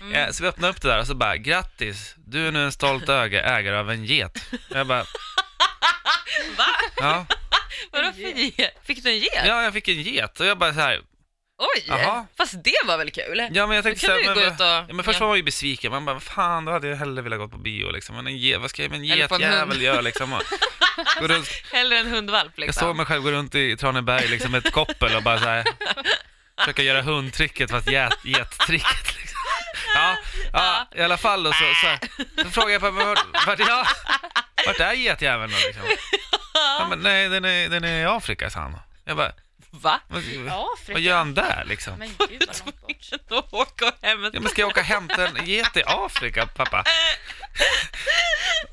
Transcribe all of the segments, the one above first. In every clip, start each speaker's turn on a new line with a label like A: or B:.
A: Mm.
B: Eh, Så vi öppnade upp det där och så bara, grattis, du är nu en stolt öga- ägare av en get. Jag bara,
A: Va?
B: ja,
A: Vadå för ge? Fick du en get?
B: ja jag fick en get och jag bara så här,
A: Oj!
B: Jaha.
A: Fast det var väl kul?
B: ja men jag
A: Då
B: tänkte så
A: kan du ju
B: här,
A: gå
B: men,
A: ut och...
B: ja, men först var man ju besviken, man bara, "Vad fan då hade jag hellre velat gå på bio liksom, men en get, vad ska jag med en
A: Eller på en
B: getjävel
A: hund.
B: göra liksom? Och, gå runt,
A: Hellre en hundvalp
B: jag
A: liksom.
B: såg mig själv gå runt i Traneberg liksom med ett koppel och bara så här, försöka göra hundtricket fast get- gettricket liksom. Ja, ja, i alla fall då så, så, så frågade jag pappa vart, vart, ja, vart är getjäveln då liksom? Ja, men nej, den är, den är i Afrika, sa han. Jag bara,
A: Va?
B: vad,
C: Ja, Afrika.
B: vad gör han där liksom?
C: Men gud vad långt bort.
A: Då åker jag hem
B: Ja, men ska jag åka och hämta en get i Afrika, pappa?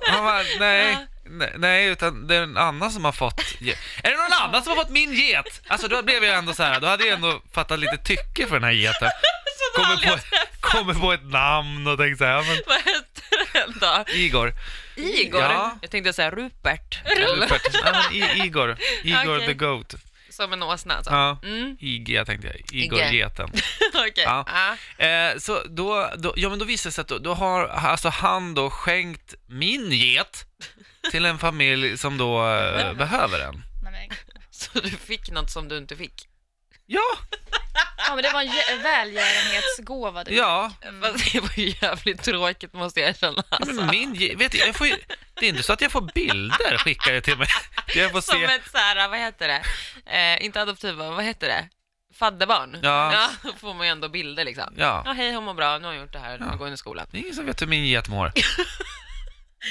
B: Han bara, nej, ne- nej, utan det är en annan som har fått ge- Är det någon annan som har fått min get? Alltså då blev jag ändå så här, då hade jag ändå fattat lite tycke för den här geten.
A: Så då
B: Kommer
A: aldrig
B: på,
A: har
B: kommer på ett namn och tänkte så här, ja, men
A: Vad hette den då?
B: Igor.
A: Igor?
B: Ja.
A: Jag tänkte säga Rupert. Eller-
B: Rupert. Ja, men I- Igor. Igor
A: Okej.
B: the Goat.
A: Som en åsna alltså.
B: Ja.
A: Mm.
B: IG tänkte jag,
A: Ige.
B: Igor-geten.
A: Okej.
B: Ja.
A: Ah.
B: Eh, så då, då, ja men då visade det sig att då, då har alltså han då skänkt min get till en familj som då eh, behöver den.
C: Nej, men,
A: Så du fick något som du inte fick?
B: Ja,
C: ja, men det var en jä- välgörenhetsgåva. Du. Mm.
B: ja.
A: Fast det var ju jävligt tråkigt måste jag erkänna. Alltså.
B: Men min ge- vet du, jag får ju, det är inte så att jag får bilder skickade till mig. Jag får
A: Som
B: se.
A: ett så här, vad heter det? Eh, inte adoptivbarn, vad heter det? Fadderbarn.
B: Ja.
A: då får man ju ändå bilder liksom. Ja,
B: Ja,
A: hej, hon mår bra, nu har hon gjort det här,
B: Ja.
A: nu går hon i skolan.
B: det är ingen som vet hur min get mår.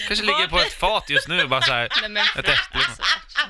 B: Kanske ligger på ett fat just nu bara så här,
C: Nej, men,
B: ett äpple.
C: alltså.